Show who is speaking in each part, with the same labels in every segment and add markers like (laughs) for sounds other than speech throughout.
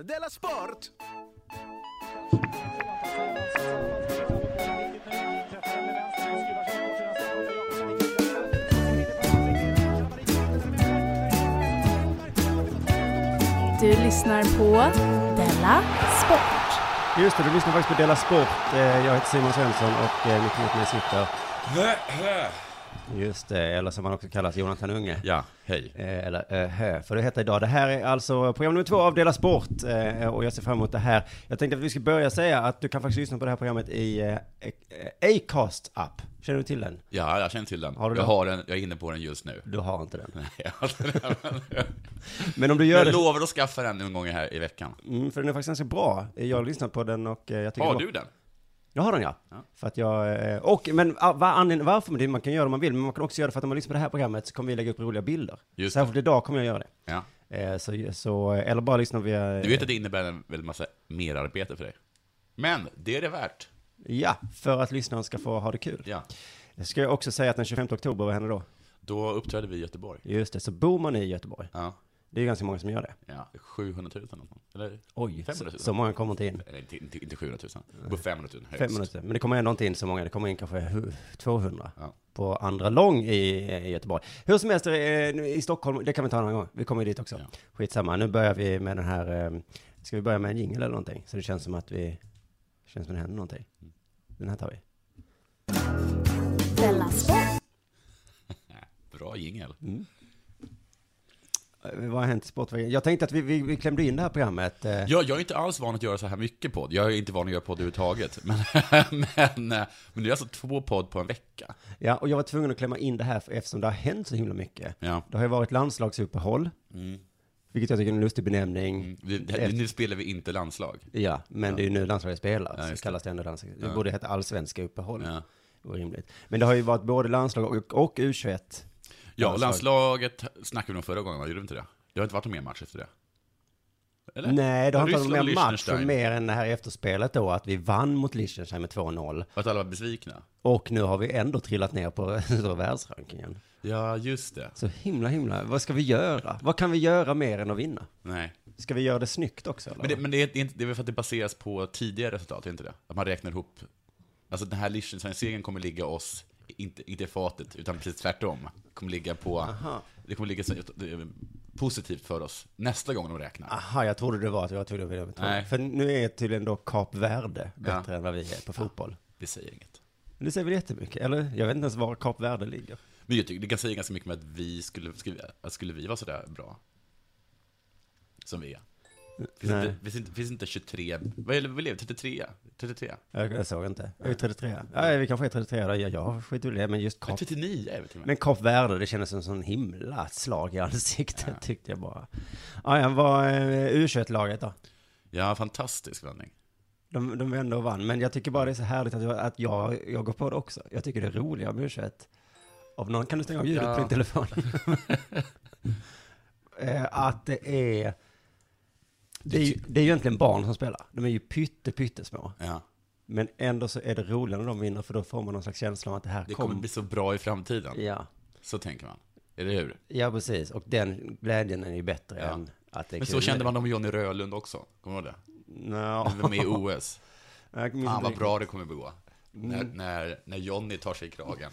Speaker 1: Della Sport!
Speaker 2: Du lyssnar på Della Sport.
Speaker 3: Just det, du lyssnar faktiskt på Della Sport. Eh, Jag heter Simon Svensson och eh, mitt emot mig sitter, just det, eller som han också kallas, Jonathan Unge.
Speaker 4: Ja, hej.
Speaker 3: Eh, Eller eh, hö, för det heter idag. Det här är alltså program nummer två av Dela Sport eh, och jag ser fram emot det här. Jag tänkte att vi ska börja säga att du kan faktiskt lyssna på det här programmet i eh, eh, Acast-app. Känner du till den?
Speaker 4: Ja, jag känner till den.
Speaker 3: Har du
Speaker 4: jag,
Speaker 3: den?
Speaker 4: har den jag är inne på den
Speaker 3: (laughs)
Speaker 4: just nu.
Speaker 3: Du har inte den.
Speaker 4: Nej, jag har inte den.
Speaker 3: Men om du gör
Speaker 4: jag
Speaker 3: det,
Speaker 4: lovar att skaffa den någon gång här i veckan.
Speaker 3: mm, för den är faktiskt ganska bra. Eh, Jag har lyssnat på den och eh, jag tycker
Speaker 4: Har
Speaker 3: det var-
Speaker 4: du den?
Speaker 3: Jag har den ja.
Speaker 4: Ja.
Speaker 3: För att jag, eh, och men ah, vad anledningen, varför, Det- man kan göra det om man vill, men man kan också göra det för att om man lyssnar på det här programmet så kommer vi lägga upp roliga bilder.
Speaker 4: Just
Speaker 3: Särskilt idag kommer jag göra det.
Speaker 4: Ja.
Speaker 3: Eh, Så, så, eh, eller bara lyssna via...
Speaker 4: Du vet att det innebär en väldigt massa merarbete för dig. Men det är det värt.
Speaker 3: Ja, för att lyssnaren ska få ha det kul.
Speaker 4: Ja.
Speaker 3: Ska jag också säga att den 25 oktober, vad händer då?
Speaker 4: Då uppträder vi i Göteborg.
Speaker 3: Just det, så bor man i Göteborg.
Speaker 4: Ja.
Speaker 3: Det är ganska många som gör det.
Speaker 4: ja. 700 000 eller något. Eller?
Speaker 3: Oj,
Speaker 4: 500
Speaker 3: så,
Speaker 4: 000.
Speaker 3: så många kommer inte in.
Speaker 4: Eller inte, inte, inte 700 000. Det går 500 000 högst.
Speaker 3: 500 000. Men det kommer ändå inte in så många, det kommer in kanske hu- 200
Speaker 4: Ja.
Speaker 3: på andra lång i, i Göteborg. Hur som helst, eh, nu i Stockholm, det kan vi ta en annan gång. Vi kommer ju dit också.
Speaker 4: Ja.
Speaker 3: Skitsamma, nu börjar vi med den här, eh, ska vi börja med en jingle eller någonting? Så det känns som att vi, det känns som det händer någonting.
Speaker 4: Mm.
Speaker 3: Den här tar vi.
Speaker 2: Della Sport.
Speaker 4: Bra jingel.
Speaker 3: Eh, Vad har hänt i sportvägen? Jag tänkte att vi, vi, vi klämde in det här programmet. eh,
Speaker 4: Ja, jag är inte alls van att göra så här mycket podd. Jag är inte van att göra podd överhuvudtaget. (laughs) Men, men, eh, men det är alltså två podd på en vecka.
Speaker 3: Ja, och jag var tvungen att klämma in det här för- eftersom det har hänt så himla mycket.
Speaker 4: Ja.
Speaker 3: Det har ju varit landslagsuppehåll, vilket jag tycker är en lustig benämning.
Speaker 4: Mm. Det, det, nu spelar vi inte landslag.
Speaker 3: Ja, men det är ju nu landslaget spelar,
Speaker 4: Ja,
Speaker 3: så
Speaker 4: just det.
Speaker 3: kallas det ändå landslag. Det borde heta allsvenska uppehåll.
Speaker 4: Ja.
Speaker 3: Orimligt. Men det har ju varit både landslag och, och U21.
Speaker 4: Ja, och landslaget snackade vi om förra gången, va? gjorde vi inte det? Det har inte varit någon mer match efter det. Eller?
Speaker 3: Nej, det har inte varit
Speaker 4: Ryssland
Speaker 3: mer
Speaker 4: och
Speaker 3: match,
Speaker 4: Liechtenstein.
Speaker 3: mer än det här efterspelet då, att vi vann mot Liechtenstein med 2-0.
Speaker 4: Att alla var besvikna?
Speaker 3: Och nu har vi ändå trillat ner på (laughs) då världsrankingen.
Speaker 4: Ja, just det.
Speaker 3: Så himla, himla, vad ska vi göra? Vad kan vi göra mer än att vinna?
Speaker 4: Nej.
Speaker 3: Ska vi göra det snyggt också? Eller?
Speaker 4: Men det, men det, är, det, är inte, det är väl för att det baseras på tidigare resultat, är inte det? Att man räknar ihop... Alltså den här Liechtenstein-segern kommer ligga oss, inte, inte i fatet, utan precis tvärtom. Kommer ligga på... Det kommer ligga så, det är positivt för oss nästa gång de räknar.
Speaker 3: Aha, jag trodde det var att jag tog det med
Speaker 4: Nej.
Speaker 3: För nu är tydligen då Kap Verde bättre än vad vi är på fotboll.
Speaker 4: Vi säger inget.
Speaker 3: Men Det säger väl jättemycket, eller? Jag vet inte ens var Kap Verde ligger.
Speaker 4: Men jag tycker det kan säga ganska mycket om att vi skulle, skulle, att skulle vi vara sådär bra. Som vi är. Finns
Speaker 3: Nej.
Speaker 4: inte, finns, inte, finns inte 23, vad är det vi lever, 33? 33?
Speaker 3: Jag, jag såg inte. Är vi 33? Ja, vi kanske är 33 då. Ja, jag skiter väl i det, men just
Speaker 4: Ja,
Speaker 3: Kap...
Speaker 4: 39 är vi till och med.
Speaker 3: Men Kap Verde, det kändes som en sån himla slag i ansiktet, tyckte jag bara. Ja, ja, vad eh, U21-laget då?
Speaker 4: Ja, fantastisk vändning.
Speaker 3: De, de vände och vann, men jag tycker bara det är så härligt att, jag- att jag, jag går på det också. Jag tycker det är roligare med U21. Av någon kan du stänga av ljudet
Speaker 4: Ja.
Speaker 3: på din telefon. Eh, att det är... Det är, ju, det är ju egentligen barn som spelar. De är ju pytte, pyttesmå.
Speaker 4: Ja.
Speaker 3: Men ändå så är det roligare när de vinner, för då får man någon slags känsla om att det här
Speaker 4: Det kommer
Speaker 3: kom.
Speaker 4: bli så bra i framtiden.
Speaker 3: Ja.
Speaker 4: Så tänker man. Eller hur?
Speaker 3: ja, precis. Och den glädjen är ju bättre
Speaker 4: Ja.
Speaker 3: än att det är
Speaker 4: Men så
Speaker 3: kul.
Speaker 4: kände man om Johnny Rölund också. Kommer du ihåg det?
Speaker 3: Nå.
Speaker 4: Han var med i OS.
Speaker 3: (laughs) Jag minns
Speaker 4: Fan
Speaker 3: inte
Speaker 4: vad
Speaker 3: riktigt.
Speaker 4: bra det kommer att gå. När,
Speaker 3: Mm.
Speaker 4: när, när Johnny tar sig i kragen.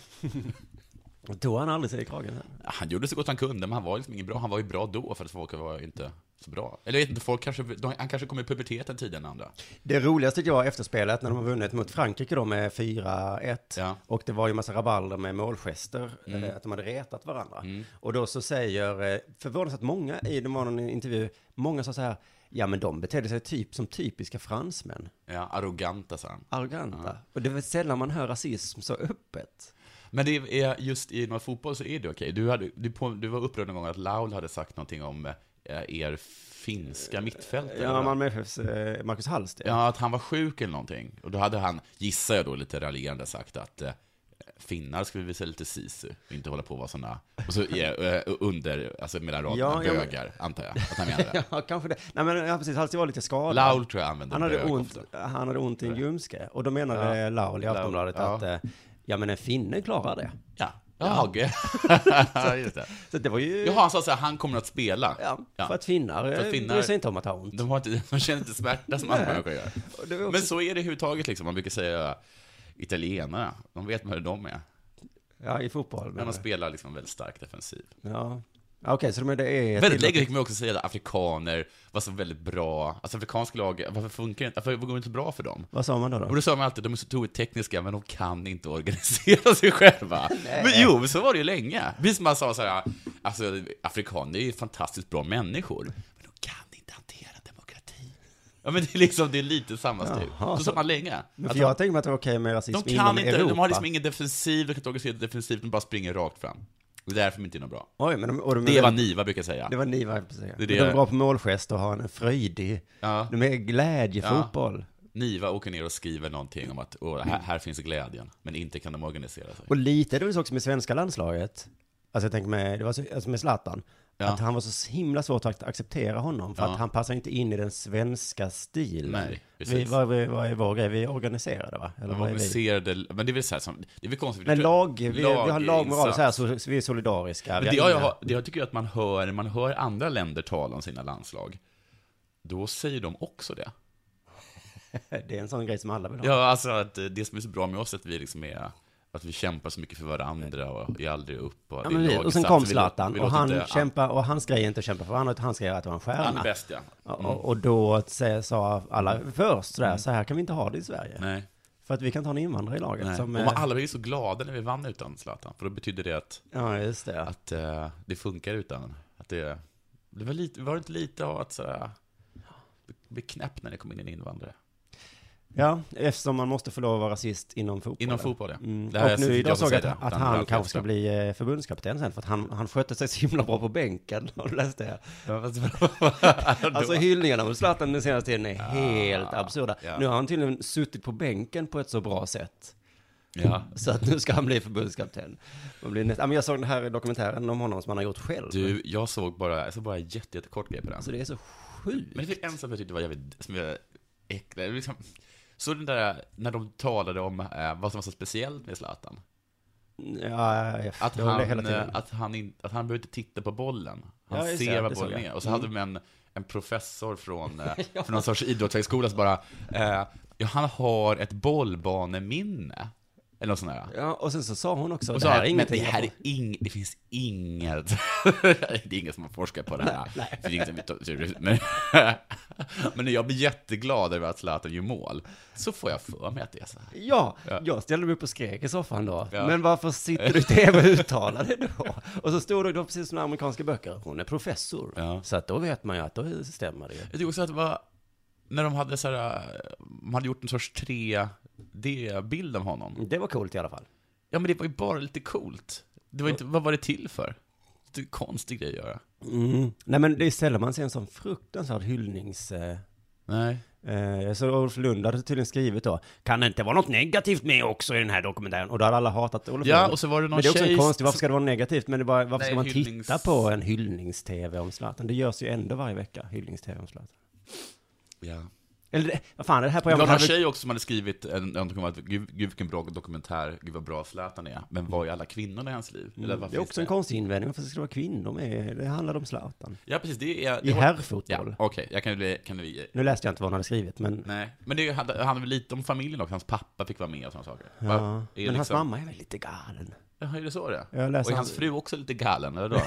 Speaker 3: Tog han aldrig sig i kragen?
Speaker 4: Ja, Han gjorde så gott han kunde, men han var liksom ingen bra. Han var ju bra då, för att folk var inte så bra. Eller jag vet inte, folk kanske, de, han kanske kom i puberteten tidigare än andra.
Speaker 3: Det roligaste tycker jag efter spelet när de har vunnit mot Frankrike då med 4-1
Speaker 4: Ja. Mm.
Speaker 3: och det var ju massa rabalder med målgester, eh, att de hade retat varandra. Och då så säger, eh, förvånansvärt många i, det var någon intervju, många sa så här, ja men de betedde sig typ som typiska fransmän,
Speaker 4: Ja, arroganta, sa han.
Speaker 3: arroganta. Och det är väl sällan man hör rasism så öppet.
Speaker 4: Men det är just i någon fotboll så är det okej. Du, hade- du, på- du var upprörd någon gång att Laul hade sagt någonting om eh, er finska mittfältare.
Speaker 3: Ja, Malmö FFs eh, Marcus Hallsten.
Speaker 4: ja, att han var sjuk eller någonting. Och då hade han, gissar jag då, lite raljerande sagt att eh, finnar skulle visa lite sisu, och inte hålla på och vara sådana, och så eh, under, alltså mellan raderna,
Speaker 3: Ja, ja, men-
Speaker 4: bögar, antar jag att han menade.
Speaker 3: (laughs) Ja, kanske det. Nej men ja, precis, Hallsten var lite skadad.
Speaker 4: Laul tror jag använder
Speaker 3: Han hade,
Speaker 4: bög
Speaker 3: ont,
Speaker 4: ofta.
Speaker 3: han hade ont i en ljumske. Och då menade Laul i Aftonbladet
Speaker 4: Laul,
Speaker 3: att eh, ja men en finne klarar det.
Speaker 4: Ja,
Speaker 3: (laughs)
Speaker 4: Jage. Just det.
Speaker 3: Så det var ju...
Speaker 4: Jaha, han sa så här, han kommer att spela.
Speaker 3: Ja,
Speaker 4: Ja.
Speaker 3: För att finnar,
Speaker 4: För att
Speaker 3: finnar
Speaker 4: finnar-
Speaker 3: bryr sig inte om att ha ont.
Speaker 4: De, har inte, de känner inte smärta som andra människor gör.
Speaker 3: Och det var också-
Speaker 4: Men så är det överhuvudtaget liksom. Man brukar säga italienare, de vet hur de är.
Speaker 3: Ja, i fotboll.
Speaker 4: Men
Speaker 3: Men...
Speaker 4: de spelar liksom väldigt starkt defensiv.
Speaker 3: Ja. Ja, Okej, så de är- det är...
Speaker 4: Väldigt länge fick man också säga att afrikaner var så väldigt bra, alltså afrikanska lag, varför funkar det inte, varför går det inte bra för dem?
Speaker 3: Vad sa man då?
Speaker 4: Och
Speaker 3: då?
Speaker 4: då sa man alltid, de är så otroligt tekniska, men de kan inte organisera (laughs) sig själva. men jo, men så var det ju länge. Precis som man sa så här, alltså afrikaner är ju fantastiskt bra människor, men de kan inte hantera demokrati. Ja men det är liksom, det är lite samma stil.
Speaker 3: Jaha,
Speaker 4: så
Speaker 3: så-
Speaker 4: sa man länge.
Speaker 3: Men
Speaker 4: Att
Speaker 3: för
Speaker 4: de-
Speaker 3: jag tänker mig att det var okej med rasism
Speaker 4: de kan
Speaker 3: inom
Speaker 4: inte,
Speaker 3: Europa.
Speaker 4: de har liksom ingen defensiv, de kan inte organisera defensivt, de bara springer rakt fram. Det är därför de inte är något bra.
Speaker 3: Oj, men de, och de,
Speaker 4: Det är vad Niva brukar säga.
Speaker 3: Det var ni, vad jag precis.
Speaker 4: Det är
Speaker 3: De
Speaker 4: det
Speaker 3: är
Speaker 4: jag-
Speaker 3: bra på målgest och har en fröjdig...
Speaker 4: Ja.
Speaker 3: De är glädjefotboll.
Speaker 4: Niva åker ner och skriver någonting om att Åh, här, här finns glädjen, men inte kan de organisera sig.
Speaker 3: Och lite är det väl så också med svenska landslaget. Alltså jag tänker med, det var så, alltså med Zlatan.
Speaker 4: Ja.
Speaker 3: Att han var så himla svårt att acceptera honom. För
Speaker 4: Ja.
Speaker 3: att han passar inte in i den svenska stilen.
Speaker 4: Nej, precis.
Speaker 3: vi, vad, vi- vad är vår grej? Vi är organiserade va? Eller
Speaker 4: De
Speaker 3: vad är vi?
Speaker 4: organiserade, men det är väl så här som, det är väl konstigt. för
Speaker 3: Men
Speaker 4: det tror jag-
Speaker 3: lag, vi, vi har lagmoral
Speaker 4: insats.
Speaker 3: så här, så, så vi är solidariska.
Speaker 4: Men
Speaker 3: vi
Speaker 4: det,
Speaker 3: har
Speaker 4: jag,
Speaker 3: inga-
Speaker 4: har- det jag tycker jag att man hör, man hör andra länder tala om sina landslag, då säger de också det.
Speaker 3: Det är en sån grej som alla vill ha.
Speaker 4: Ja, alltså att eh, det som är så bra med oss är att vi liksom är att vi kämpar så mycket för varandra och är aldrig upp. Och,
Speaker 3: Ja,
Speaker 4: det är
Speaker 3: men vi, och
Speaker 4: laginsats.
Speaker 3: sen kom
Speaker 4: Vi låter- vi
Speaker 3: Zlatan och
Speaker 4: låter
Speaker 3: han
Speaker 4: inte-
Speaker 3: kämpar, och hans grej är inte att kämpa för varandra, utan hans grej är att vara en
Speaker 4: Han
Speaker 3: stjärna.
Speaker 4: är bäst, ja.
Speaker 3: Och, och då sä- sa alla först sådär, så här kan vi inte ha det i Sverige.
Speaker 4: Mm. Nej.
Speaker 3: För att vi kan ta en invandrare i laget
Speaker 4: nej.
Speaker 3: som...
Speaker 4: och
Speaker 3: eh,
Speaker 4: man, alla blev ju så glada när vi vann utan Zlatan, för då betydde det att,
Speaker 3: Ja, just det.
Speaker 4: att eh, det funkar utan. Att det, det var, lite, var det inte lite av att sådär, bli- bli knäpp när det kom in en invandrare?
Speaker 3: Ja, eftersom man måste få lov att vara rasist inom fotboll.
Speaker 4: Inom fotboll, ja.
Speaker 3: Mm.
Speaker 4: Det här
Speaker 3: och
Speaker 4: fick
Speaker 3: nu
Speaker 4: jag
Speaker 3: idag
Speaker 4: också
Speaker 3: såg jag
Speaker 4: säga
Speaker 3: att,
Speaker 4: det,
Speaker 3: att
Speaker 4: utan
Speaker 3: han
Speaker 4: Ralf
Speaker 3: kanske ska
Speaker 4: Edström.
Speaker 3: bli eh, förbundskapten sen, för att han, han skötte sig så himla bra på bänken. (laughs) Har du läst det? (laughs) Alltså hyllningarna mot Zlatan den senaste tiden är helt absurda.
Speaker 4: ja.
Speaker 3: Nu har han tydligen suttit på bänken på ett så bra sätt.
Speaker 4: ja.
Speaker 3: Så att nu ska han bli förbundskapten. Man blir näst... ja, men jag såg den här dokumentären om honom som han har gjort själv.
Speaker 4: Du, jag såg bara, jag såg bara en jätte, jättekort grej på den.
Speaker 3: Alltså det är så sjukt.
Speaker 4: Men det finns en som jag tyckte var jävligt, som jag äcklade, liksom. Så den där, när de talade om eh, vad som var så speciellt med Zlatan.
Speaker 3: Ja, jag
Speaker 4: Att
Speaker 3: det var
Speaker 4: han,
Speaker 3: det hela tiden.
Speaker 4: eh, att han, in, att han behöver inte titta på bollen. Han
Speaker 3: Ja, just det,
Speaker 4: ser
Speaker 3: det
Speaker 4: vad
Speaker 3: såg
Speaker 4: bollen
Speaker 3: jag. Mm.
Speaker 4: är. Och så hade de en, en professor
Speaker 3: (laughs)
Speaker 4: från, eh, från någon sorts idrottshögskola som bara, eh, ja, han har ett bollbaneminne. Eller något sånt där.
Speaker 3: Ja, och sen så sa hon också,
Speaker 4: Och
Speaker 3: det
Speaker 4: så
Speaker 3: här är
Speaker 4: men
Speaker 3: ingenting.
Speaker 4: det, här är
Speaker 3: jag-
Speaker 4: ing, det finns inget, (laughs) det är ingen som har forskat på det här. Det är ingen som vet- men, (laughs) men när jag blir jätteglad över att Zlatan gör mål, så får jag för mig att det är så här.
Speaker 3: Ja, jag ställde mig upp och skrek i soffan då.
Speaker 4: Ja.
Speaker 3: Men varför sitter du i tv och uttalar det då? Och så stod det då precis som i amerikanska böcker, hon är professor.
Speaker 4: Ja.
Speaker 3: Så att då vet man ju att då stämmer det ju.
Speaker 4: Jag tycker också att det var, när de hade så här, man hade gjort en sorts 3D-bild av honom.
Speaker 3: Det var coolt i alla fall.
Speaker 4: Ja men det var ju bara lite coolt. Det var inte, vad var det till för? Det är en konstig grej att göra.
Speaker 3: Mm. Nej men det ställer man sig en sån fruktansvärd hyllnings... Eh,
Speaker 4: Nej.
Speaker 3: eh, jag såg Olof Lund hade tydligen skrivit då, kan det inte vara något negativt med också i den här dokumentären? Och då hade alla hatat Olof
Speaker 4: Ja,
Speaker 3: Lund.
Speaker 4: och så var det någon
Speaker 3: Men det är också
Speaker 4: tjej
Speaker 3: en konstigt, varför ska det vara negativt? Men det är bara, varför ska
Speaker 4: Nej,
Speaker 3: man
Speaker 4: hyllnings-
Speaker 3: titta på en hyllnings-tv om Zlatan? Det görs ju ändå varje vecka, hyllnings-tv om Zlatan.
Speaker 4: Ja.
Speaker 3: Eller, det- vad fan, det här
Speaker 4: Det
Speaker 3: programmet
Speaker 4: var någon
Speaker 3: hade...
Speaker 4: tjej också som hade skrivit en, någonting om att gud, gud vilken bra dokumentär, gud vad bra Zlatan är, men var är alla kvinnorna i hans liv? Eller
Speaker 3: Mm,
Speaker 4: vad
Speaker 3: det är
Speaker 4: finns
Speaker 3: också en konstig invändning, varför ska det vara kvinnor med? Det handlar om Zlatan.
Speaker 4: Ja precis, det är...
Speaker 3: I
Speaker 4: Det Ja,
Speaker 3: herrfotboll.
Speaker 4: okej, jag kan bli... Kan bli
Speaker 3: Nu läste jag inte vad hon hade skrivit, men...
Speaker 4: nej, men det handlar handlar väl lite om familjen också, hans pappa fick vara med och sådana saker. Va?
Speaker 3: Ja.
Speaker 4: Är
Speaker 3: Men
Speaker 4: liksom-
Speaker 3: hans mamma är väl lite galen.
Speaker 4: Ja, är det så det
Speaker 3: Jag
Speaker 4: är?
Speaker 3: läser
Speaker 4: Och är
Speaker 3: hans-
Speaker 4: hans fru också lite galen,
Speaker 3: (laughs)
Speaker 4: eller då?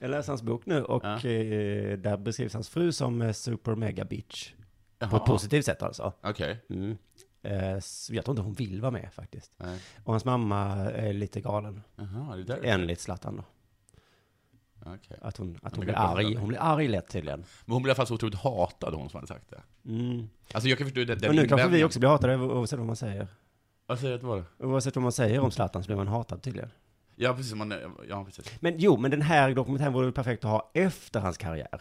Speaker 3: Jag läser hans bok nu och
Speaker 4: Ja.
Speaker 3: eh, där beskrivs hans fru som eh, super mega bitch. På ett
Speaker 4: Jaha,
Speaker 3: positivt sätt alltså.
Speaker 4: Okej.
Speaker 3: Mm. Eh, så jag tror inte hon vill vara med faktiskt.
Speaker 4: Nej.
Speaker 3: Och hans mamma är lite galen.
Speaker 4: Jaha, det där...
Speaker 3: Enligt Zlatan då.
Speaker 4: okej.
Speaker 3: Att hon, att
Speaker 4: kan
Speaker 3: hon blir
Speaker 4: gå på
Speaker 3: arg.
Speaker 4: den.
Speaker 3: Hon blir arg lätt tydligen.
Speaker 4: Men hon blev i alla fall så otroligt hatad, hon som hade sagt det.
Speaker 3: Mm.
Speaker 4: Alltså jag kan förstå den, den
Speaker 3: Och nu kanske vi
Speaker 4: invändningen.
Speaker 3: också blir hatade oavsett vad man säger.
Speaker 4: Vad säger du att det var?
Speaker 3: Oavsett vad man säger om Zlatan så blir man hatad tydligen.
Speaker 4: Ja, precis. Man, ja, precis.
Speaker 3: Men jo, men den här dokumentären vore väl perfekt att ha efter hans karriär.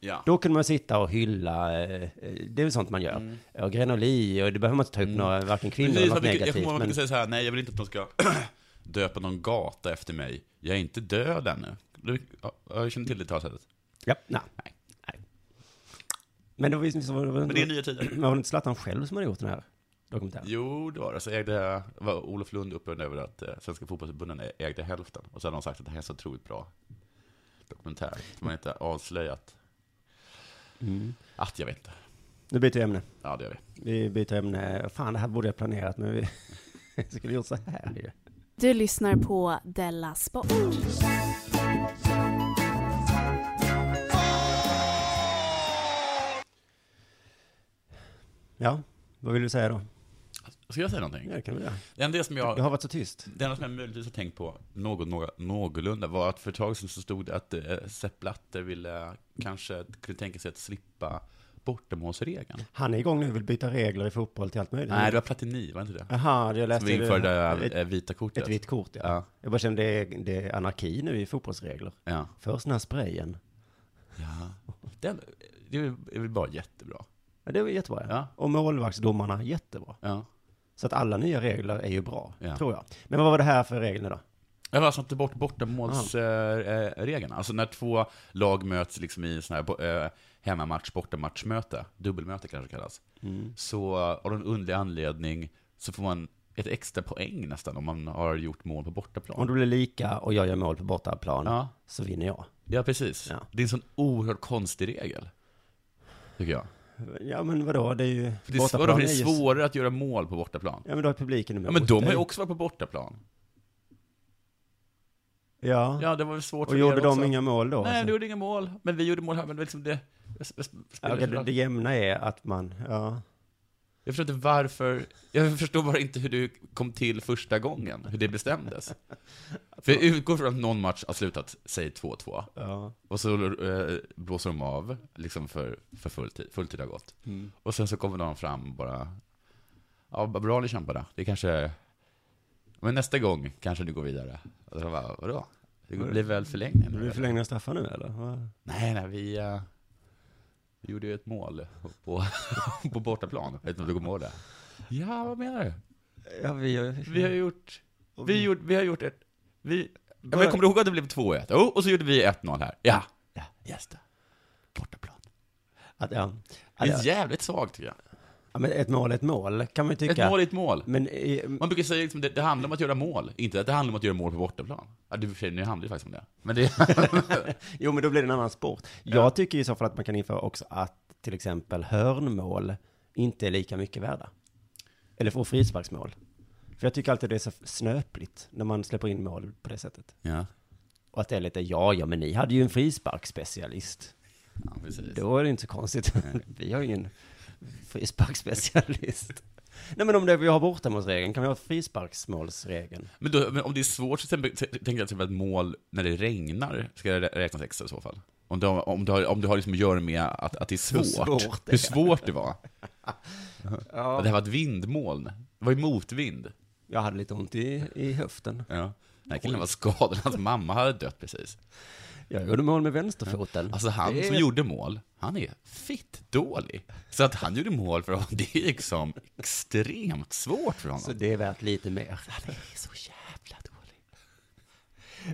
Speaker 4: Ja.
Speaker 3: Då kunde man sitta och hylla, eh, eh, det är väl sånt man gör. Och Grenoli, och det behöver man inte ta upp några, varken kvinnor eller
Speaker 4: Mm.
Speaker 3: något
Speaker 4: Precis, man brukar, jag
Speaker 3: negativt.
Speaker 4: kommer ihåg att man
Speaker 3: Men,
Speaker 4: brukar säga så här, nej jag vill inte att de ska (clears throat) döpa någon gata efter mig. Jag är inte död ännu. Du, ja, jag känner till det talsättet.
Speaker 3: ja, nej. nej. Men det var ju så, var, var,
Speaker 4: Men det är nya tider.
Speaker 3: var det inte Zlatan själv som hade gjort den här dokumentären?
Speaker 4: Jo, det var det. Så ägde, var Olof Lund upprörd över att eh, Svenska fotbollsförbundet ägde hälften. Och så hade de sagt att det här är så otroligt bra dokumentär. Som man inte avslöjat. Att jag vet inte.
Speaker 3: Nu byter vi ämne.
Speaker 4: Ja, det gör vi.
Speaker 3: Vi byter ämne. Fan, det här borde jag planerat, men vi (laughs) skulle gjort så här ju.
Speaker 2: Du lyssnar på Della Sport.
Speaker 3: Ja, vad vill du säga då?
Speaker 4: Ska jag säga någonting?
Speaker 3: Ja, det kan vi göra.
Speaker 4: Det enda som jag...
Speaker 3: Det har varit så tyst.
Speaker 4: Det enda som jag möjligtvis har tänkt på något, några, någorlunda var att för ett tag sedan så stod det att eh, Sepp Blatter ville, kanske kunde tänka sig att slippa bortamålsregeln.
Speaker 3: Han är igång nu och vill byta regler i fotboll till allt möjligt.
Speaker 4: Nej, det var Platini, var inte det?
Speaker 3: Aha, jag läste
Speaker 4: Som
Speaker 3: det-
Speaker 4: införde
Speaker 3: ett,
Speaker 4: eh, vita kortet.
Speaker 3: äh, ett vitt kort, ja.
Speaker 4: Ja.
Speaker 3: Jag bara känner det är, det är anarki nu i fotbollsregler.
Speaker 4: ja.
Speaker 3: Först den här sprayen.
Speaker 4: ja. Den, det är väl bara jättebra.
Speaker 3: Ja, det var jättebra.
Speaker 4: Ja.
Speaker 3: Och målvaktsdomarna, jättebra.
Speaker 4: Ja.
Speaker 3: Så att alla nya regler är ju bra,
Speaker 4: Ja.
Speaker 3: tror jag. Men vad var det här för regler då?
Speaker 4: Jag var alltså inte bort bortamålsregeln. Alltså när två lag möts liksom i sån här bo- eh, hemmamatch, bortamatchmöte, dubbelmöte kanske det kallas.
Speaker 3: Mm.
Speaker 4: Så eh, av någon underlig anledning så får man ett extra poäng nästan om man har gjort mål på
Speaker 3: Om
Speaker 4: bortaplan.
Speaker 3: det blir lika och jag gör mål på bortaplan,
Speaker 4: Ja,
Speaker 3: så vinner jag.
Speaker 4: ja precis.
Speaker 3: Ja.
Speaker 4: Det är en sån oerhört konstig regel. Tycker jag.
Speaker 3: Ja, men vadå, det är ju...
Speaker 4: För det är, svårare, för det är svårare att göra mål på bortaplan.
Speaker 3: Ja, men då är publiken emot.
Speaker 4: Ja, men de har
Speaker 3: dig.
Speaker 4: ju också varit på bortaplan.
Speaker 3: Ja,
Speaker 4: Ja, det var väl svårt
Speaker 3: och
Speaker 4: för
Speaker 3: gjorde
Speaker 4: er
Speaker 3: de
Speaker 4: också.
Speaker 3: inga mål då?
Speaker 4: Nej,
Speaker 3: så-
Speaker 4: de gjorde inga mål. Men vi gjorde mål här, men liksom det...
Speaker 3: Ja, okej, det, det jämna är att man, ja.
Speaker 4: Jag förstår inte varför, jag förstår bara inte hur du kom till första gången, hur det (laughs) bestämdes. För jag utgår från att någon match har slutat, säg 2-2,
Speaker 3: ja.
Speaker 4: och så eh, blåser de av, liksom för, för full tid, full tid har gått. Och sen så kommer någon fram och bara, ja, vad bra ni kämpade, det kanske, men nästa gång kanske du går vidare. Och så bara, vadå? Det blir väl förlängning?
Speaker 3: Det
Speaker 4: nu,
Speaker 3: blir
Speaker 4: eller?"
Speaker 3: förlängda straffar nu eller? Va?
Speaker 4: Nej, nej, vi, eh, vi gjorde ju ett mål på, (laughs) på bortaplan. Jag vet inte om du kommer ihåg det? Ja, vad menar du?
Speaker 3: Ja, vi,
Speaker 4: Vi har gjort,
Speaker 3: Och
Speaker 4: vi,
Speaker 3: vi-
Speaker 4: gjort, vi har gjort ett, vi, ja, men jag kommer du ihåg att det blev 2-1? Jo, och så gjorde vi 1-0 här. Ja, ja, just det. Bortaplan.
Speaker 3: Att, ja.
Speaker 4: Det
Speaker 3: Att,
Speaker 4: är
Speaker 3: ja.
Speaker 4: jävligt svagt tycker jag.
Speaker 3: ja, men ett mål är ett mål, kan man ju tycka.
Speaker 4: Ett mål är ett mål.
Speaker 3: Men, i-
Speaker 4: Man brukar säga liksom, det, det handlar om att göra mål, inte att det handlar om att göra mål på bortaplan. Ja, det, i och för sig, nu handlar det faktiskt om det. Men det,
Speaker 3: jo, men då blir det en annan sport. Jag tycker i så fall att man kan införa också att till exempel hörnmål inte är lika mycket värda. Eller få frisparksmål. För jag tycker alltid det är så snöpligt när man släpper in mål på det sättet.
Speaker 4: (laughs) ja,
Speaker 3: Och att det är lite, ja, ja, men ni hade ju en frisparksspecialist.
Speaker 4: ja, precis.
Speaker 3: Då är det inte så konstigt. Vi har ju ingen frisparksspecialist. Nej men om det, vi har bortamålsregeln, kan vi ha frisparksmålsregeln?
Speaker 4: Men, då, men om det är svårt så tänker jag till exempel att mål när det regnar ska det rä- räknas extra i så fall. Om du, har- om du har, om du har liksom att göra med att, att det är svårt.
Speaker 3: svårt det
Speaker 4: hur svårt det var.
Speaker 3: Ja.
Speaker 4: Det här var ett vindmoln. Det var ju motvind.
Speaker 3: Jag hade lite ont i, i höften.
Speaker 4: Ja. Den här killen var skadad, hans mamma hade dött precis.
Speaker 3: Jag gjorde mål med vänsterfoten.
Speaker 4: Alltså han
Speaker 3: Det är-
Speaker 4: som gjorde mål, han är fitt dålig. Så att han gjorde mål för honom, (laughs) det är liksom extremt svårt för honom.
Speaker 3: Så det är värt lite mer.
Speaker 4: Han är så jävla dålig.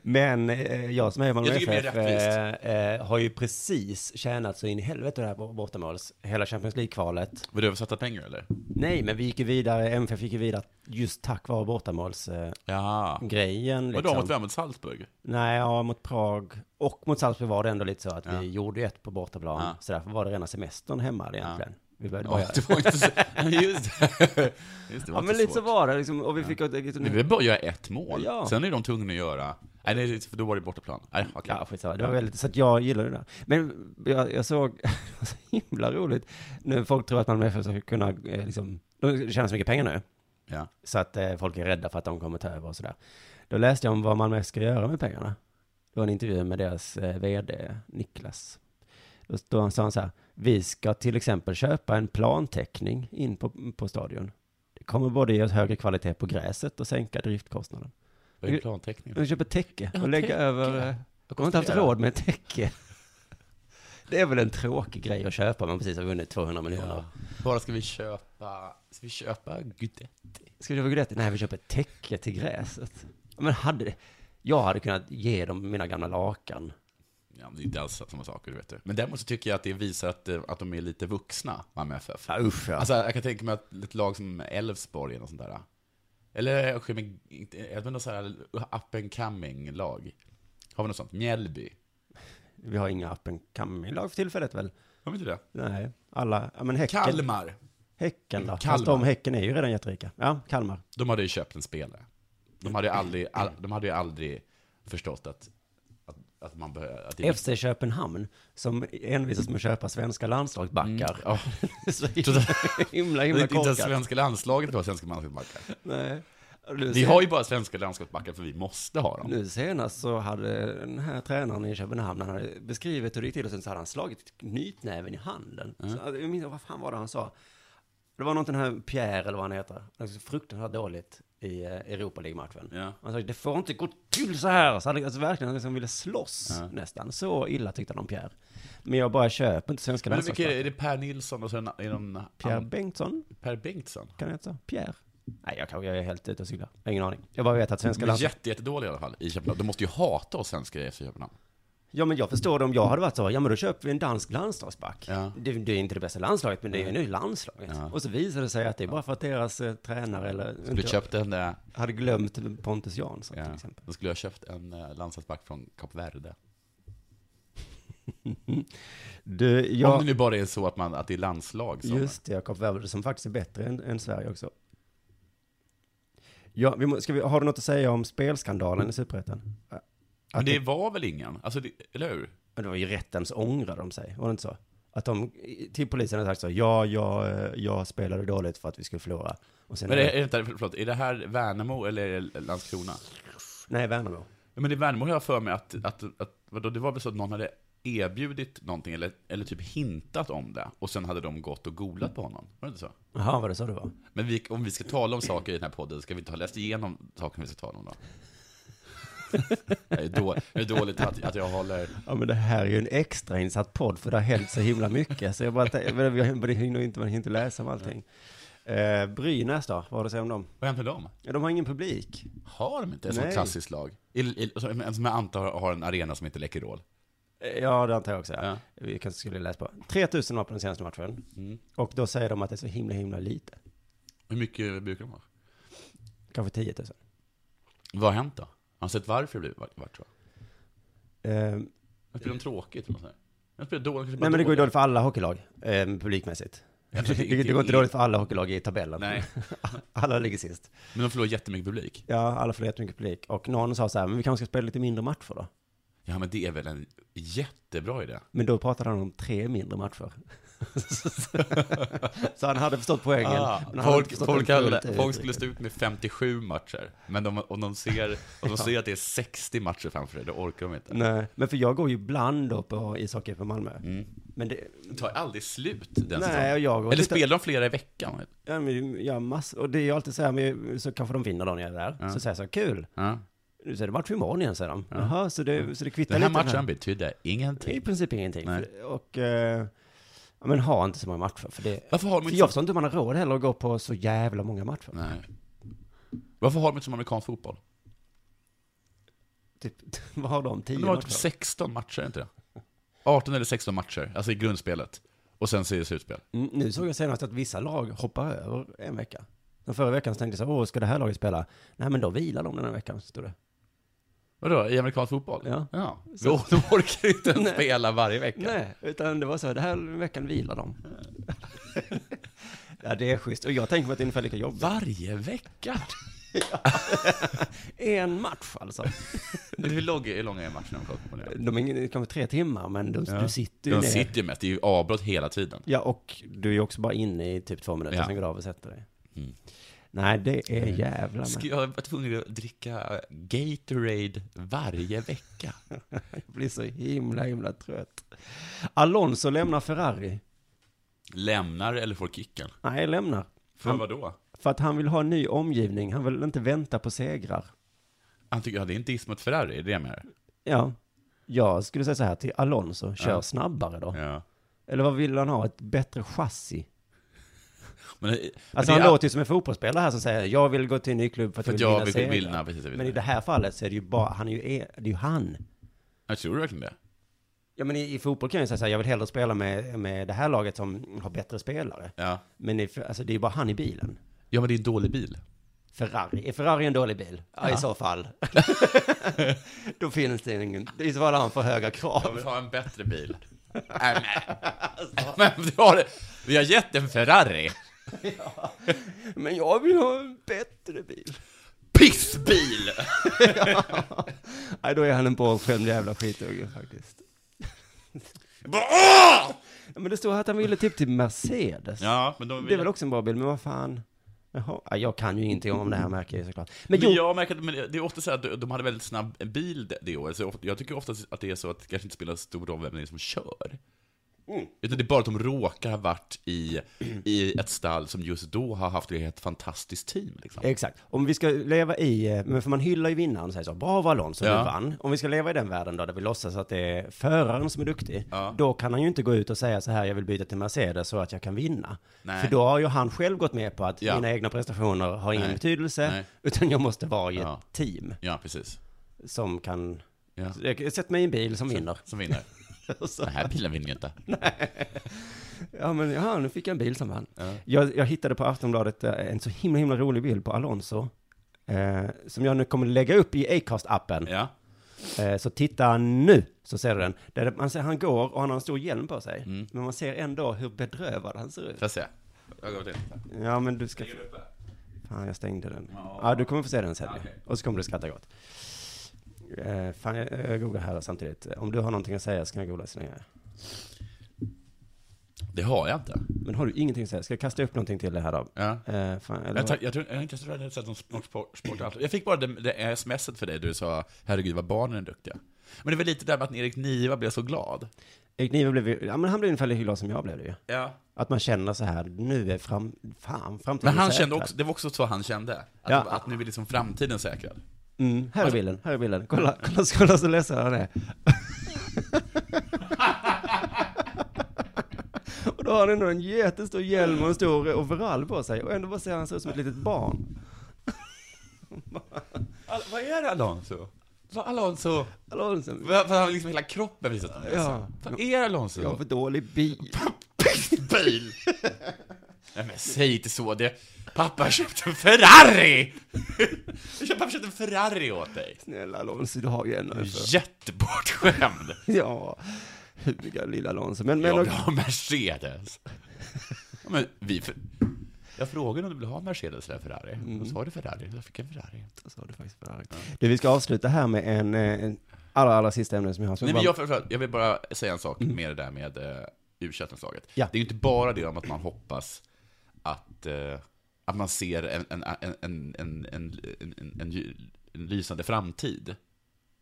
Speaker 3: Men eh, jag som är Malmö
Speaker 4: Jag tycker det blir
Speaker 3: FF eh, eh, har ju precis tjänat så in i helvete det här bortamåls, hela Champions League-kvalet.
Speaker 4: Var det översatta pengar eller?
Speaker 3: Nej, men vi gick ju vidare, MFF gick ju vidare just tack vare bortamålsgrejen.
Speaker 4: Ja.
Speaker 3: Eh, grejen,
Speaker 4: Vadå,
Speaker 3: liksom.
Speaker 4: mot vem? Mot Salzburg?
Speaker 3: Nej, ja, mot Prag och mot Salzburg var det ändå lite så att
Speaker 4: Ja.
Speaker 3: vi gjorde ju ett på bortaplan.
Speaker 4: Ja.
Speaker 3: Så därför var det rena semestern hemma det egentligen. Vi började
Speaker 4: Ja,
Speaker 3: bara...
Speaker 4: det var inte så... (laughs) Just det. Just det, var
Speaker 3: Ja,
Speaker 4: inte
Speaker 3: men lite
Speaker 4: svårt.
Speaker 3: så var det liksom. Och vi fick ett eget...
Speaker 4: Vi vill bara göra ett mål.
Speaker 3: Ja.
Speaker 4: Sen är de tvungna att göra... Nej, nej, för då var det bortaplan. Nej, okej.
Speaker 3: Ja, skitsamma. Det var väldigt... Så att jag gillade det där. Men jag, jag såg... (laughs) det var så himla roligt. Nu folk tror att Malmö FF ska kunna eh, liksom... De tjänar så mycket pengar nu.
Speaker 4: Ja.
Speaker 3: Så att eh, folk är rädda för att de kommer ta över och sådär. Då läste jag om vad Malmö ska göra med pengarna. Det var en intervju med deras eh, vd Niklas. Då stod han, sa han så här, vi ska till exempel köpa en planteckning in på, på stadion. Det kommer både ge oss högre kvalitet på gräset och sänka driftkostnaden.
Speaker 4: Vad är planteckningen?
Speaker 3: De köper täcke
Speaker 4: Ja,
Speaker 3: och lägger
Speaker 4: täcke.
Speaker 3: över... eh, De har inte haft råd med ett täcke. (laughs) Det är väl en tråkig grej att köpa, man precis har vunnit 200 miljoner.
Speaker 4: Ja. Bara ska vi köpa... Ska vi köpa Gudetti?
Speaker 3: Ska vi köpa grädde? Nej, vi köper ett täcke till gräset. Ja, Men hade det... Jag hade kunnat ge dem mina gamla lakan.
Speaker 4: Ja, det är inte alls samma saker, du vet det. Men däremot så tycker jag att det visar att, eh, att de är lite vuxna, Malmö FF.
Speaker 3: Ja, usch ja.
Speaker 4: Alltså, jag kan tänka mig att ett lag som Elfsborg eller något sånt där. eh. Eller, okay, men, inte- jag menar så här, up and coming-lag. Har vi något sånt? Mjällby?
Speaker 3: Vi har inga up and coming-lag för tillfället väl?
Speaker 4: Har vi inte det?
Speaker 3: Nej, alla, ja men Häcken.
Speaker 4: Kalmar.
Speaker 3: Häcken då. Fast
Speaker 4: Kalmar.
Speaker 3: de Häcken är ju redan jätterika. Ja, Kalmar.
Speaker 4: De hade ju köpt en spelare. De hade ju (laughs) aldrig, all, de hade ju aldrig förstått att, att, att man behöver... Att
Speaker 3: FC Köpenhamn, som envisas med att köpa svenska landslagsbackar.
Speaker 4: Ja.
Speaker 3: (laughs) Så himla, himla,
Speaker 4: Mm. Det
Speaker 3: himla
Speaker 4: är inte ens
Speaker 3: korkat.
Speaker 4: svenska landslaget har svenska landslagsbackar.
Speaker 3: Nej.
Speaker 4: Vi har ju bara svenska landslagsbackar för vi måste ha dem.
Speaker 3: Nu senast så hade den här tränaren i Köpenhamn, han hade beskrivit hur det gick till och sen så hade han slagit knytnäven i handen.
Speaker 4: Mm.
Speaker 3: Så, alltså, jag minns, vad fan var det han sa? Det var någonting den här Pierre eller vad han heter. Alltså, fruktansvärt dåligt i eh, Europa League-matchen.
Speaker 4: Ja.
Speaker 3: Han sa det får inte gå till så här. Så han alltså, verkligen liksom ville slåss
Speaker 4: Ja.
Speaker 3: nästan. Så illa tyckte han om Pierre. Men jag bara köper inte svenska
Speaker 4: Men vilka är det?
Speaker 3: landslagsbackar.
Speaker 4: Är det Per Nilsson och sen är det någon...
Speaker 3: Pierre Bengtsson,
Speaker 4: per Bengtsson?
Speaker 3: kan det heta? Pierre? Nej, jag, kan, jag är helt ute och cyklar. Jag har ingen aning. Jag bara vet att svenska
Speaker 4: Jätte,
Speaker 3: landslagsbackar...
Speaker 4: jätte, jättedålig i alla fall i Köpenhamn. De måste ju hata oss svenskar i FC Köpenhamn.
Speaker 3: Ja men jag förstår det om jag hade varit så, ja men då köper vi en dansk landslagsback.
Speaker 4: Ja.
Speaker 3: Det, det är inte det bästa landslaget, men det är ju landslaget. Och så visar det sig att det är bara för att deras eh, tränare eller
Speaker 4: Skulle köpt en, eh,
Speaker 3: hade glömt Pontus Jansson till
Speaker 4: ja,
Speaker 3: exempel.
Speaker 4: de skulle ha köpt en eh, landslagsback från Kap Verde.
Speaker 3: Du,
Speaker 4: Om det
Speaker 3: jag,
Speaker 4: nu bara är så att, man, att det är landslag som...
Speaker 3: just det, Jakob Verde som faktiskt är bättre än, än Sverige också. Ja, vi må, ska vi, har du något att säga om spelskandalen i Superettan? Ja,
Speaker 4: Men
Speaker 3: Att
Speaker 4: det var väl ingen? Alltså, det, eller hur?
Speaker 3: det var ju rättens ångrar de sig, var det inte så? Att de till polisen har sagt så, ja, jag, eh, jag spelade dåligt för att vi skulle förlora. Och sen,
Speaker 4: Men är, är, det, inte- förlåt, är det här Värnamo eller är det Landskrona?
Speaker 3: nej, Värnamo.
Speaker 4: Ja, Men i Värnamo har jag för mig att, att, att vadå, det var väl så att någon hade erbjudit någonting eller, eller typ hintat om det och sen hade de gått och golat på honom. Var det inte så?
Speaker 3: Jaha, var det så det var?
Speaker 4: Men vi, om vi ska tala om saker i den här podden, ska vi inte ha läst igenom sakerna vi ska tala
Speaker 3: (laughs)
Speaker 4: om då? Det är då- det är dåligt att, att jag håller...
Speaker 3: Ja men det här är ju en extrainsatt podd för det har hänt så himla mycket. Så jag bara tänkte, men vi vi hinner inte, man hinner inte läsa om allting. Eh, Brynäs då, vad har du att säga om dem?
Speaker 4: Vad hände med dem?
Speaker 3: Ja, de har ingen publik.
Speaker 4: Har de inte ett sånt
Speaker 3: Nej.
Speaker 4: klassiskt lag? I, i, som en som jag antar har en arena som heter Läkerol.
Speaker 3: Eh, Ja, det antar jag också. Ja.
Speaker 4: Ja.
Speaker 3: Vi kanske skulle läsa på. 3000 var på den senaste matchen.
Speaker 4: Mm.
Speaker 3: Och då säger de att det är så himla, himla lite.
Speaker 4: Hur mycket brukar de ha?
Speaker 3: Kanske 10 000.
Speaker 4: Vad har hänt då? Har ni sett varför det blev vart, vart så?
Speaker 3: Eh,
Speaker 4: Jag spelar de tråkigt eller nåt sånt där? Jag spelar dåligt, kanske bara
Speaker 3: nej men det går ju
Speaker 4: dåligt.
Speaker 3: dåligt för alla hockeylag, eh, publikmässigt. (laughs)
Speaker 4: Ja,
Speaker 3: Det,
Speaker 4: men det-
Speaker 3: det går inte
Speaker 4: det-
Speaker 3: dåligt för alla hockeylag i tabellen.
Speaker 4: Nej,
Speaker 3: Alla ligger sist.
Speaker 4: men de förlorar jättemycket publik.
Speaker 3: Ja, alla får jättemycket publik. Och någon sa så här, men vi kanske ska spela lite mindre matcher då.
Speaker 4: Ja, men det är väl en jättebra idé.
Speaker 3: Men då pratade han om tre mindre
Speaker 4: (laughs)
Speaker 3: matcher. så han hade förstått poängen.
Speaker 4: Ah,
Speaker 3: men han hade inte
Speaker 4: folk,
Speaker 3: förstått
Speaker 4: folk,
Speaker 3: den
Speaker 4: hade,
Speaker 3: fullt ut.
Speaker 4: folk skulle stå ut med 57 matcher, men de, om, de ser, om de ser att det är 60 matcher framför sig, då orkar de inte.
Speaker 3: Nej, men för jag går ju ibland då på ishockey på Malmö. Men det,
Speaker 4: Det tar aldrig slut, den
Speaker 3: Mm. nej, och
Speaker 4: säsongen.
Speaker 3: jag går
Speaker 4: Eller
Speaker 3: lite-
Speaker 4: spelar de flera i veckan?
Speaker 3: Ja, men, ja, mass, och det är ju alltid så här, men, så kanske de vinner då när jag är där. Så säger jag så här, kul,
Speaker 4: Ja.
Speaker 3: nu så är det match imorgon igen, säger de. Jaha, så det, så det kvittar
Speaker 4: Den här
Speaker 3: lite. den
Speaker 4: matchen betyder
Speaker 3: här. I
Speaker 4: ingenting.
Speaker 3: princip ingenting.
Speaker 4: Nej.
Speaker 3: För, och, eh, ja, men ha inte så många matcher, för det...
Speaker 4: Varför har de
Speaker 3: För
Speaker 4: inte
Speaker 3: jag förstår inte hur man har råd heller att gå på så jävla många matcher.
Speaker 4: Nej. Varför har de inte som amerikansk fotboll?
Speaker 3: Typ, vad har de? Tio
Speaker 4: Det var
Speaker 3: matcher?
Speaker 4: typ 16 matcher, är inte det? 18 eller 16 matcher, alltså i grundspelet. Och sen så är det slutspel.
Speaker 3: Mm, Nu såg jag senast att vissa lag hoppar över en vecka. Den förra veckan så tänkte jag så, åh, ska det här laget spela? Nej, men då vilar de den här veckan, stod det.
Speaker 4: Vadå, i amerikansk fotboll?
Speaker 3: Ja.
Speaker 4: ja. Då, då orkar inte ens
Speaker 3: Nej.
Speaker 4: spela varje vecka.
Speaker 3: Nej, utan det var så, den här veckan vilar de. (laughs) ja, det är schysst. Och jag tänker mig att det är ungefär lika jobbigt.
Speaker 4: Varje vecka?
Speaker 3: En match alltså.
Speaker 4: Hur lång- hur långa är matcherna de kollar på nu?
Speaker 3: De är ingen- kanske tre timmar, men de, du sitter ju
Speaker 4: De
Speaker 3: ner.
Speaker 4: sitter ju mest, det är ju avbrott hela tiden.
Speaker 3: Ja, och du är ju också bara inne i typ två minuter,
Speaker 4: Ja.
Speaker 3: sen går du av och sätter dig.
Speaker 4: Mm.
Speaker 3: Nej, det är jävla
Speaker 4: Ska
Speaker 3: med.
Speaker 4: Jag var tvungen att dricka Gatorade varje vecka.
Speaker 3: Jag blir så himla, himla trött. Alonso lämnar Ferrari.
Speaker 4: Lämnar eller får kicken?
Speaker 3: Nej, lämnar.
Speaker 4: För vadå?
Speaker 3: För att han vill ha en ny omgivning, han vill inte vänta på segrar.
Speaker 4: Han tycker, ja det är inte diss mot Ferrari, det är det jag menar.
Speaker 3: Ja, jag skulle säga så här till Alonso, kör
Speaker 4: Ja.
Speaker 3: snabbare då.
Speaker 4: Ja.
Speaker 3: Eller vad vill han ha, ett bättre chassi?
Speaker 4: Men, men
Speaker 3: Alltså
Speaker 4: det är
Speaker 3: han
Speaker 4: all-
Speaker 3: låter ju som en fotbollsspelare här som säger, jag vill gå till en ny klubb för att
Speaker 4: För
Speaker 3: jag
Speaker 4: att
Speaker 3: vill
Speaker 4: jag
Speaker 3: vinna
Speaker 4: vill
Speaker 3: segrar.
Speaker 4: vinna, precis. Jag, vill
Speaker 3: Men i det
Speaker 4: vinna.
Speaker 3: e- här fallet så är det ju bara, han är ju, det är ju han.
Speaker 4: jag tror verkligen det.
Speaker 3: Ja, men i, i fotboll kan jag ju säga så här, jag vill hellre spela med, med det här laget som har bättre spelare.
Speaker 4: Ja.
Speaker 3: Men i, alltså, det är ju bara han i bilen.
Speaker 4: ja, men det är en dålig bil.
Speaker 3: Ferrari, är Ferrari en dålig bil? Ja, i så fall. Då finns det ingen, i så fall har han för höga
Speaker 4: Jag
Speaker 3: krav.
Speaker 4: vill ha en bättre bil. (laughs) Nej, men- men vi har, vi har gett en Ferrari.
Speaker 3: Men jag vill ha en bättre bil.
Speaker 4: Pissbil!
Speaker 3: Nej, då är han en bortskämd jävla skitunge faktiskt.
Speaker 4: Bara, "Åh!"
Speaker 3: Ja, men det står här att han ville typ till Mercedes.
Speaker 4: Ja, men de
Speaker 3: Det är väl också en bra bil, men vad fan. Jaha, ja, jag kan ju ingenting om det här märker jag ju såklart. Men
Speaker 4: Men
Speaker 3: jo,
Speaker 4: jag märker att men det är ofta så att de hade väldigt snabb bil det- det året, så jag- jag tycker ofta att det är så att det kanske inte spelar stor roll vem det är som kör. Utan det är bara att de råkar ha varit i, i ett stall som just då har haft ett fantastiskt team. Liksom.
Speaker 3: Exakt. Om vi ska leva i, eh, men för man hyllar ju vinnaren och säger så, bravo Alonso,
Speaker 4: Ja.
Speaker 3: du vann. Om vi ska leva i den världen då, där vi låtsas att det är föraren som är duktig,
Speaker 4: Ja.
Speaker 3: då kan han ju inte gå ut och säga så här, jag vill byta till Mercedes så att jag kan vinna.
Speaker 4: Nej.
Speaker 3: För då har ju han själv gått med på att
Speaker 4: Ja.
Speaker 3: mina egna prestationer har ingen
Speaker 4: Nej.
Speaker 3: betydelse,
Speaker 4: Nej.
Speaker 3: utan jag måste vara i ett
Speaker 4: Ja.
Speaker 3: team
Speaker 4: Ja, precis.
Speaker 3: som kan,
Speaker 4: Ja.
Speaker 3: sätt mig i en bil som
Speaker 4: (laughs)
Speaker 3: vinner.
Speaker 4: Som vinner. Mm.
Speaker 3: Så-
Speaker 4: Den här bilen vinner ju inte.
Speaker 3: (laughs) Ja men ja, nu fick jag en bil som vann. Jag, jag hittade på Aftonbladet eh, en så himla himla rolig bild på Alonso. Eh, som jag nu kommer lägga upp i Acast-appen.
Speaker 4: Ja.
Speaker 3: Eh, så titta nu, så ser du den. Där det- man ser han går och han har en stor hjälm på sig.
Speaker 4: Mm.
Speaker 3: Men man ser ändå hur bedrövad han ser ut.
Speaker 4: Får jag se? Jag går till.
Speaker 3: Ja men du ska... Fan jag stängde den. Ja du kommer få se den sen.
Speaker 4: okej.
Speaker 3: Och så kommer du skratta gott. Eh, fan jag, jag googlar här samtidigt. Om du har någonting att säga så kan jag googla så länge.
Speaker 4: Det har jag inte.
Speaker 3: Men har du ingenting att säga? Ska jag kasta upp någonting till det här då?
Speaker 4: Ja.
Speaker 3: Eh, fan, eller
Speaker 4: Jag, tar, jag, tror, jag är inte så rädd att jag har sett någon sport, sport alls. Jag fick bara det, det smset för dig, du sa 'Herregud vad barnen är duktiga' Men det var lite där med att Erik Niva blev så glad.
Speaker 3: Erik Niva blev ju, ja men han blev ungefär lika glad som jag blev det ju.
Speaker 4: Ja.
Speaker 3: Att man känner så här, nu är fram, fan, framtiden
Speaker 4: Men han
Speaker 3: är
Speaker 4: kände
Speaker 3: säkrad.
Speaker 4: också, det var också så han kände. Att,
Speaker 3: Ja.
Speaker 4: att nu är liksom framtiden säkrad.
Speaker 3: Mm, här är bilden, här är bilden. Kolla, kolla, kolla så ledsen han är. och då har han ändå en jättestor hjälm och en stor overall på sig. Och ändå bara ser han så ut som ett litet barn.
Speaker 4: All, vad är det Alonso? Vad Alonso?
Speaker 3: Alonso,
Speaker 4: För, för han har liksom hela kroppen visat honom.
Speaker 3: Ja.
Speaker 4: Vad är det Alonso?
Speaker 3: jag har för dålig bil.
Speaker 4: Bil! (laughs) Nej men säg inte så, det... Pappa köpte en Ferrari! Jag köpte- Pappa köpte en Ferrari åt dig.
Speaker 3: Snälla Alonso, du har ju en.
Speaker 4: Du är
Speaker 3: alltså.
Speaker 4: Jättebortskämd.
Speaker 3: Ja, huga lilla Alonso. Men, men,
Speaker 4: Jag vill ha Mercedes. Ja, men vi... För... Jag frågade om du ville ha en Mercedes eller en Ferrari.
Speaker 3: Mm.
Speaker 4: Då sa du Ferrari, jag fick en Ferrari.
Speaker 3: Så har du faktiskt Ferrari. Du, vi ska avsluta här med en, eh, en allra, allra sista ämne som jag har. Så
Speaker 4: Nej, men
Speaker 3: bara-
Speaker 4: jag, framförallt, jag vill bara säga en sak med det där med uh, u laget
Speaker 3: Mm. Ja.
Speaker 4: Det är ju inte bara det om att man hoppas att, eh, att man ser en, en, en, en, en, en, en, en, en, ly- en lysande framtid.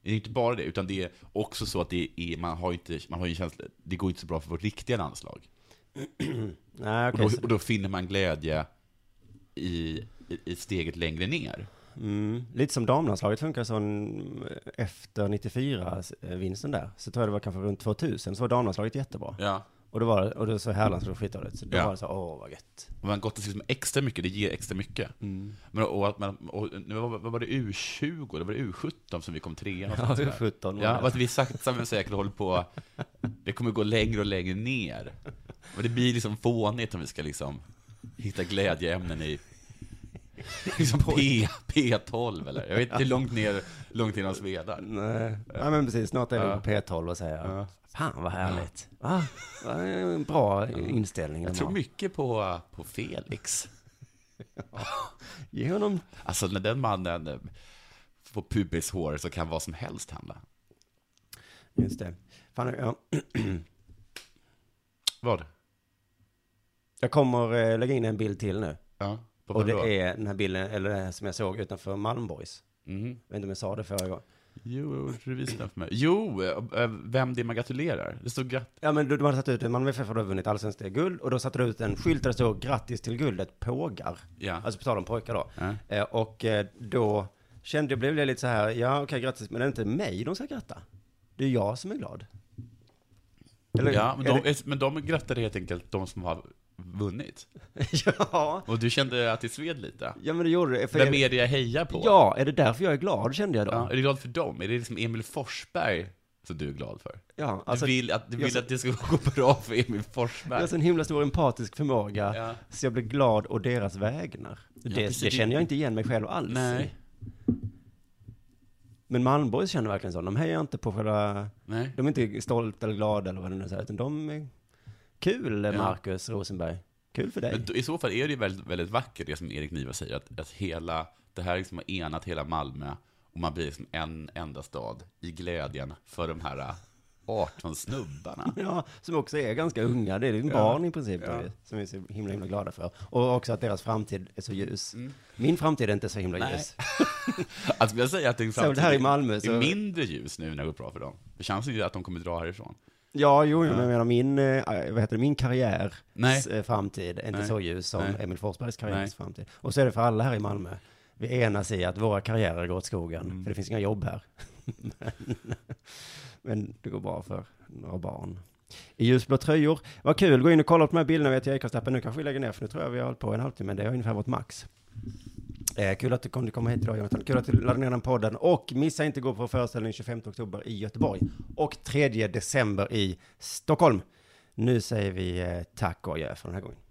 Speaker 4: Det är inte bara det, utan det är också så att det är, man har ju inte, man har ju en känsla, det går inte så bra för vårt riktiga landslag.
Speaker 3: (clears throat) Nej,
Speaker 4: Och
Speaker 3: okej.
Speaker 4: då,
Speaker 3: så-
Speaker 4: och då finner man glädje i, i, i steget längre ner.
Speaker 3: Mm. Lite som damlandslaget funkar så mm, efter 94-vinsten där, så tror jag det var kanske runt 2000, så var damlandslaget jättebra.
Speaker 4: Ja.
Speaker 3: Och då var det, och då så herrlandslaget skitdåligt. Så då
Speaker 4: Ja.
Speaker 3: var det så, åh vad gött.
Speaker 4: Och man gottar sig liksom extra mycket, det ger extra mycket. Men, och att man, och, nu var, vad var det U20, det var det U17 som vi kom trea. och sånt där.
Speaker 3: 17
Speaker 4: Ja, och att vi sakta men säkert håller på, det kommer gå längre och längre ner. Men det blir liksom fånigt om vi ska liksom hitta glädjeämnen i liksom P, P12 eller, jag vet inte hur långt ner, långt ner de svedar.
Speaker 3: Nej, ja, men precis. Snart är vi på P12 och säger, fan vad härligt. Va? Va? En bra inställning
Speaker 4: Jag
Speaker 3: de
Speaker 4: tror
Speaker 3: har.
Speaker 4: mycket på, på Felix.
Speaker 3: Ge honom
Speaker 4: Alltså när den mannen eh, får pubishår så kan vad som helst hända.
Speaker 3: Just det. Fan, ja.
Speaker 4: Vad?
Speaker 3: Jag kommer eh, lägga in en bild till nu.
Speaker 4: Ja. På
Speaker 3: Och
Speaker 4: vad då?
Speaker 3: det är den här bilden, eller den här som jag såg utanför Malmborgs.
Speaker 4: Mhm.
Speaker 3: Jag vet inte om jag sa det förra gången.
Speaker 4: Jo, du visade den för mig. Jo, eh, eh, vem det är man gratulerar. Det stod gratt...
Speaker 3: Ja men du, de hade satt ut, Malmö FF hade vunnit allsvenskt guld och då satte du ut en skylt där det stod grattis till guldet pågar.
Speaker 4: Ja.
Speaker 3: Alltså på tal om pojkar då.
Speaker 4: Ja.
Speaker 3: Eh, och eh, då kände jag, blev jag lite så här, ja okej grattis, men det är inte mig de ska gratta. Det är jag som är glad. Eller-
Speaker 4: ja, men
Speaker 3: är
Speaker 4: de,
Speaker 3: det- (laughs)
Speaker 4: men de grattade helt enkelt de som har vunnit.
Speaker 3: ja,
Speaker 4: Och du kände att det sved lite.
Speaker 3: ja men det gjorde det. För är
Speaker 4: Vem
Speaker 3: det-
Speaker 4: är det jag hejar på?
Speaker 3: Ja, är det därför jag är glad kände jag då.
Speaker 4: Ja, Är du glad för dem? Är det liksom Emil Forsberg som du är glad för.
Speaker 3: Ja,
Speaker 4: Du
Speaker 3: alltså,
Speaker 4: vill, att, du
Speaker 3: jag
Speaker 4: vill
Speaker 3: ser-
Speaker 4: att det ska (laughs) gå bra för Emil Forsberg.
Speaker 3: Jag har så en himla stor empatisk förmåga,
Speaker 4: Ja.
Speaker 3: så jag blir glad å deras vägnar. det,
Speaker 4: precis.
Speaker 3: det känner jag inte igen mig själv alls i.
Speaker 4: Nej,
Speaker 3: Men Malmborgs känner verkligen så. De hejar inte på själva...
Speaker 4: nej.
Speaker 3: De är inte stolta eller glada eller vad det nu är, utan de är... Kul,
Speaker 4: Ja.
Speaker 3: Marcus Rosenberg. Kul för dig.
Speaker 4: Men då, I så fall är det ju väldigt, väldigt vackert det som Erik Niva säger, att, att hela, det här liksom har enat hela Malmö och man blir som en enda stad i glädjen för de här äh, 18 snubbarna.
Speaker 3: (laughs) Ja, som också är ganska unga. Det är ju
Speaker 4: Ja.
Speaker 3: barn i princip
Speaker 4: Ja.
Speaker 3: då, som vi är så himla, himla glada för. Och också att deras framtid är så ljus. Min framtid är inte så himla
Speaker 4: Mm. (laughs) Nej.
Speaker 3: ljus.
Speaker 4: Alltså, skulle jag säga att det, är
Speaker 3: Så det här i Malmö
Speaker 4: är
Speaker 3: så...
Speaker 4: mindre ljus nu när det går bra för dem. För chansen är ju att de kommer dra härifrån.
Speaker 3: Ja, jo, men jag menar min, eh, vad heter det, min karriär
Speaker 4: Nej.
Speaker 3: s- eh, framtid är inte
Speaker 4: Nej.
Speaker 3: så ljus som
Speaker 4: Nej.
Speaker 3: Emil Forsbergs karriärs
Speaker 4: Nej.
Speaker 3: framtid. Och så är det för alla här i Malmö. Vi enas i att våra karriärer går åt skogen, för det finns inga jobb här. (laughs) men, men det går bra för några barn. I ljusblå tröjor. Vad kul, gå in och kolla upp de här bilderna vet jag Acast-appen. Nu kanske vi lägger ner, för nu tror jag vi har hållit på en halvtimme, men det har ungefär varit max. Eh, kul att du kom, du kom hit idag, Jonathan. Kul att du laddade ner den podden. Och missa inte gå på föreställning 25 oktober i Göteborg och 3 december i Stockholm. Nu säger vi eh, tack och adjö för den här gången.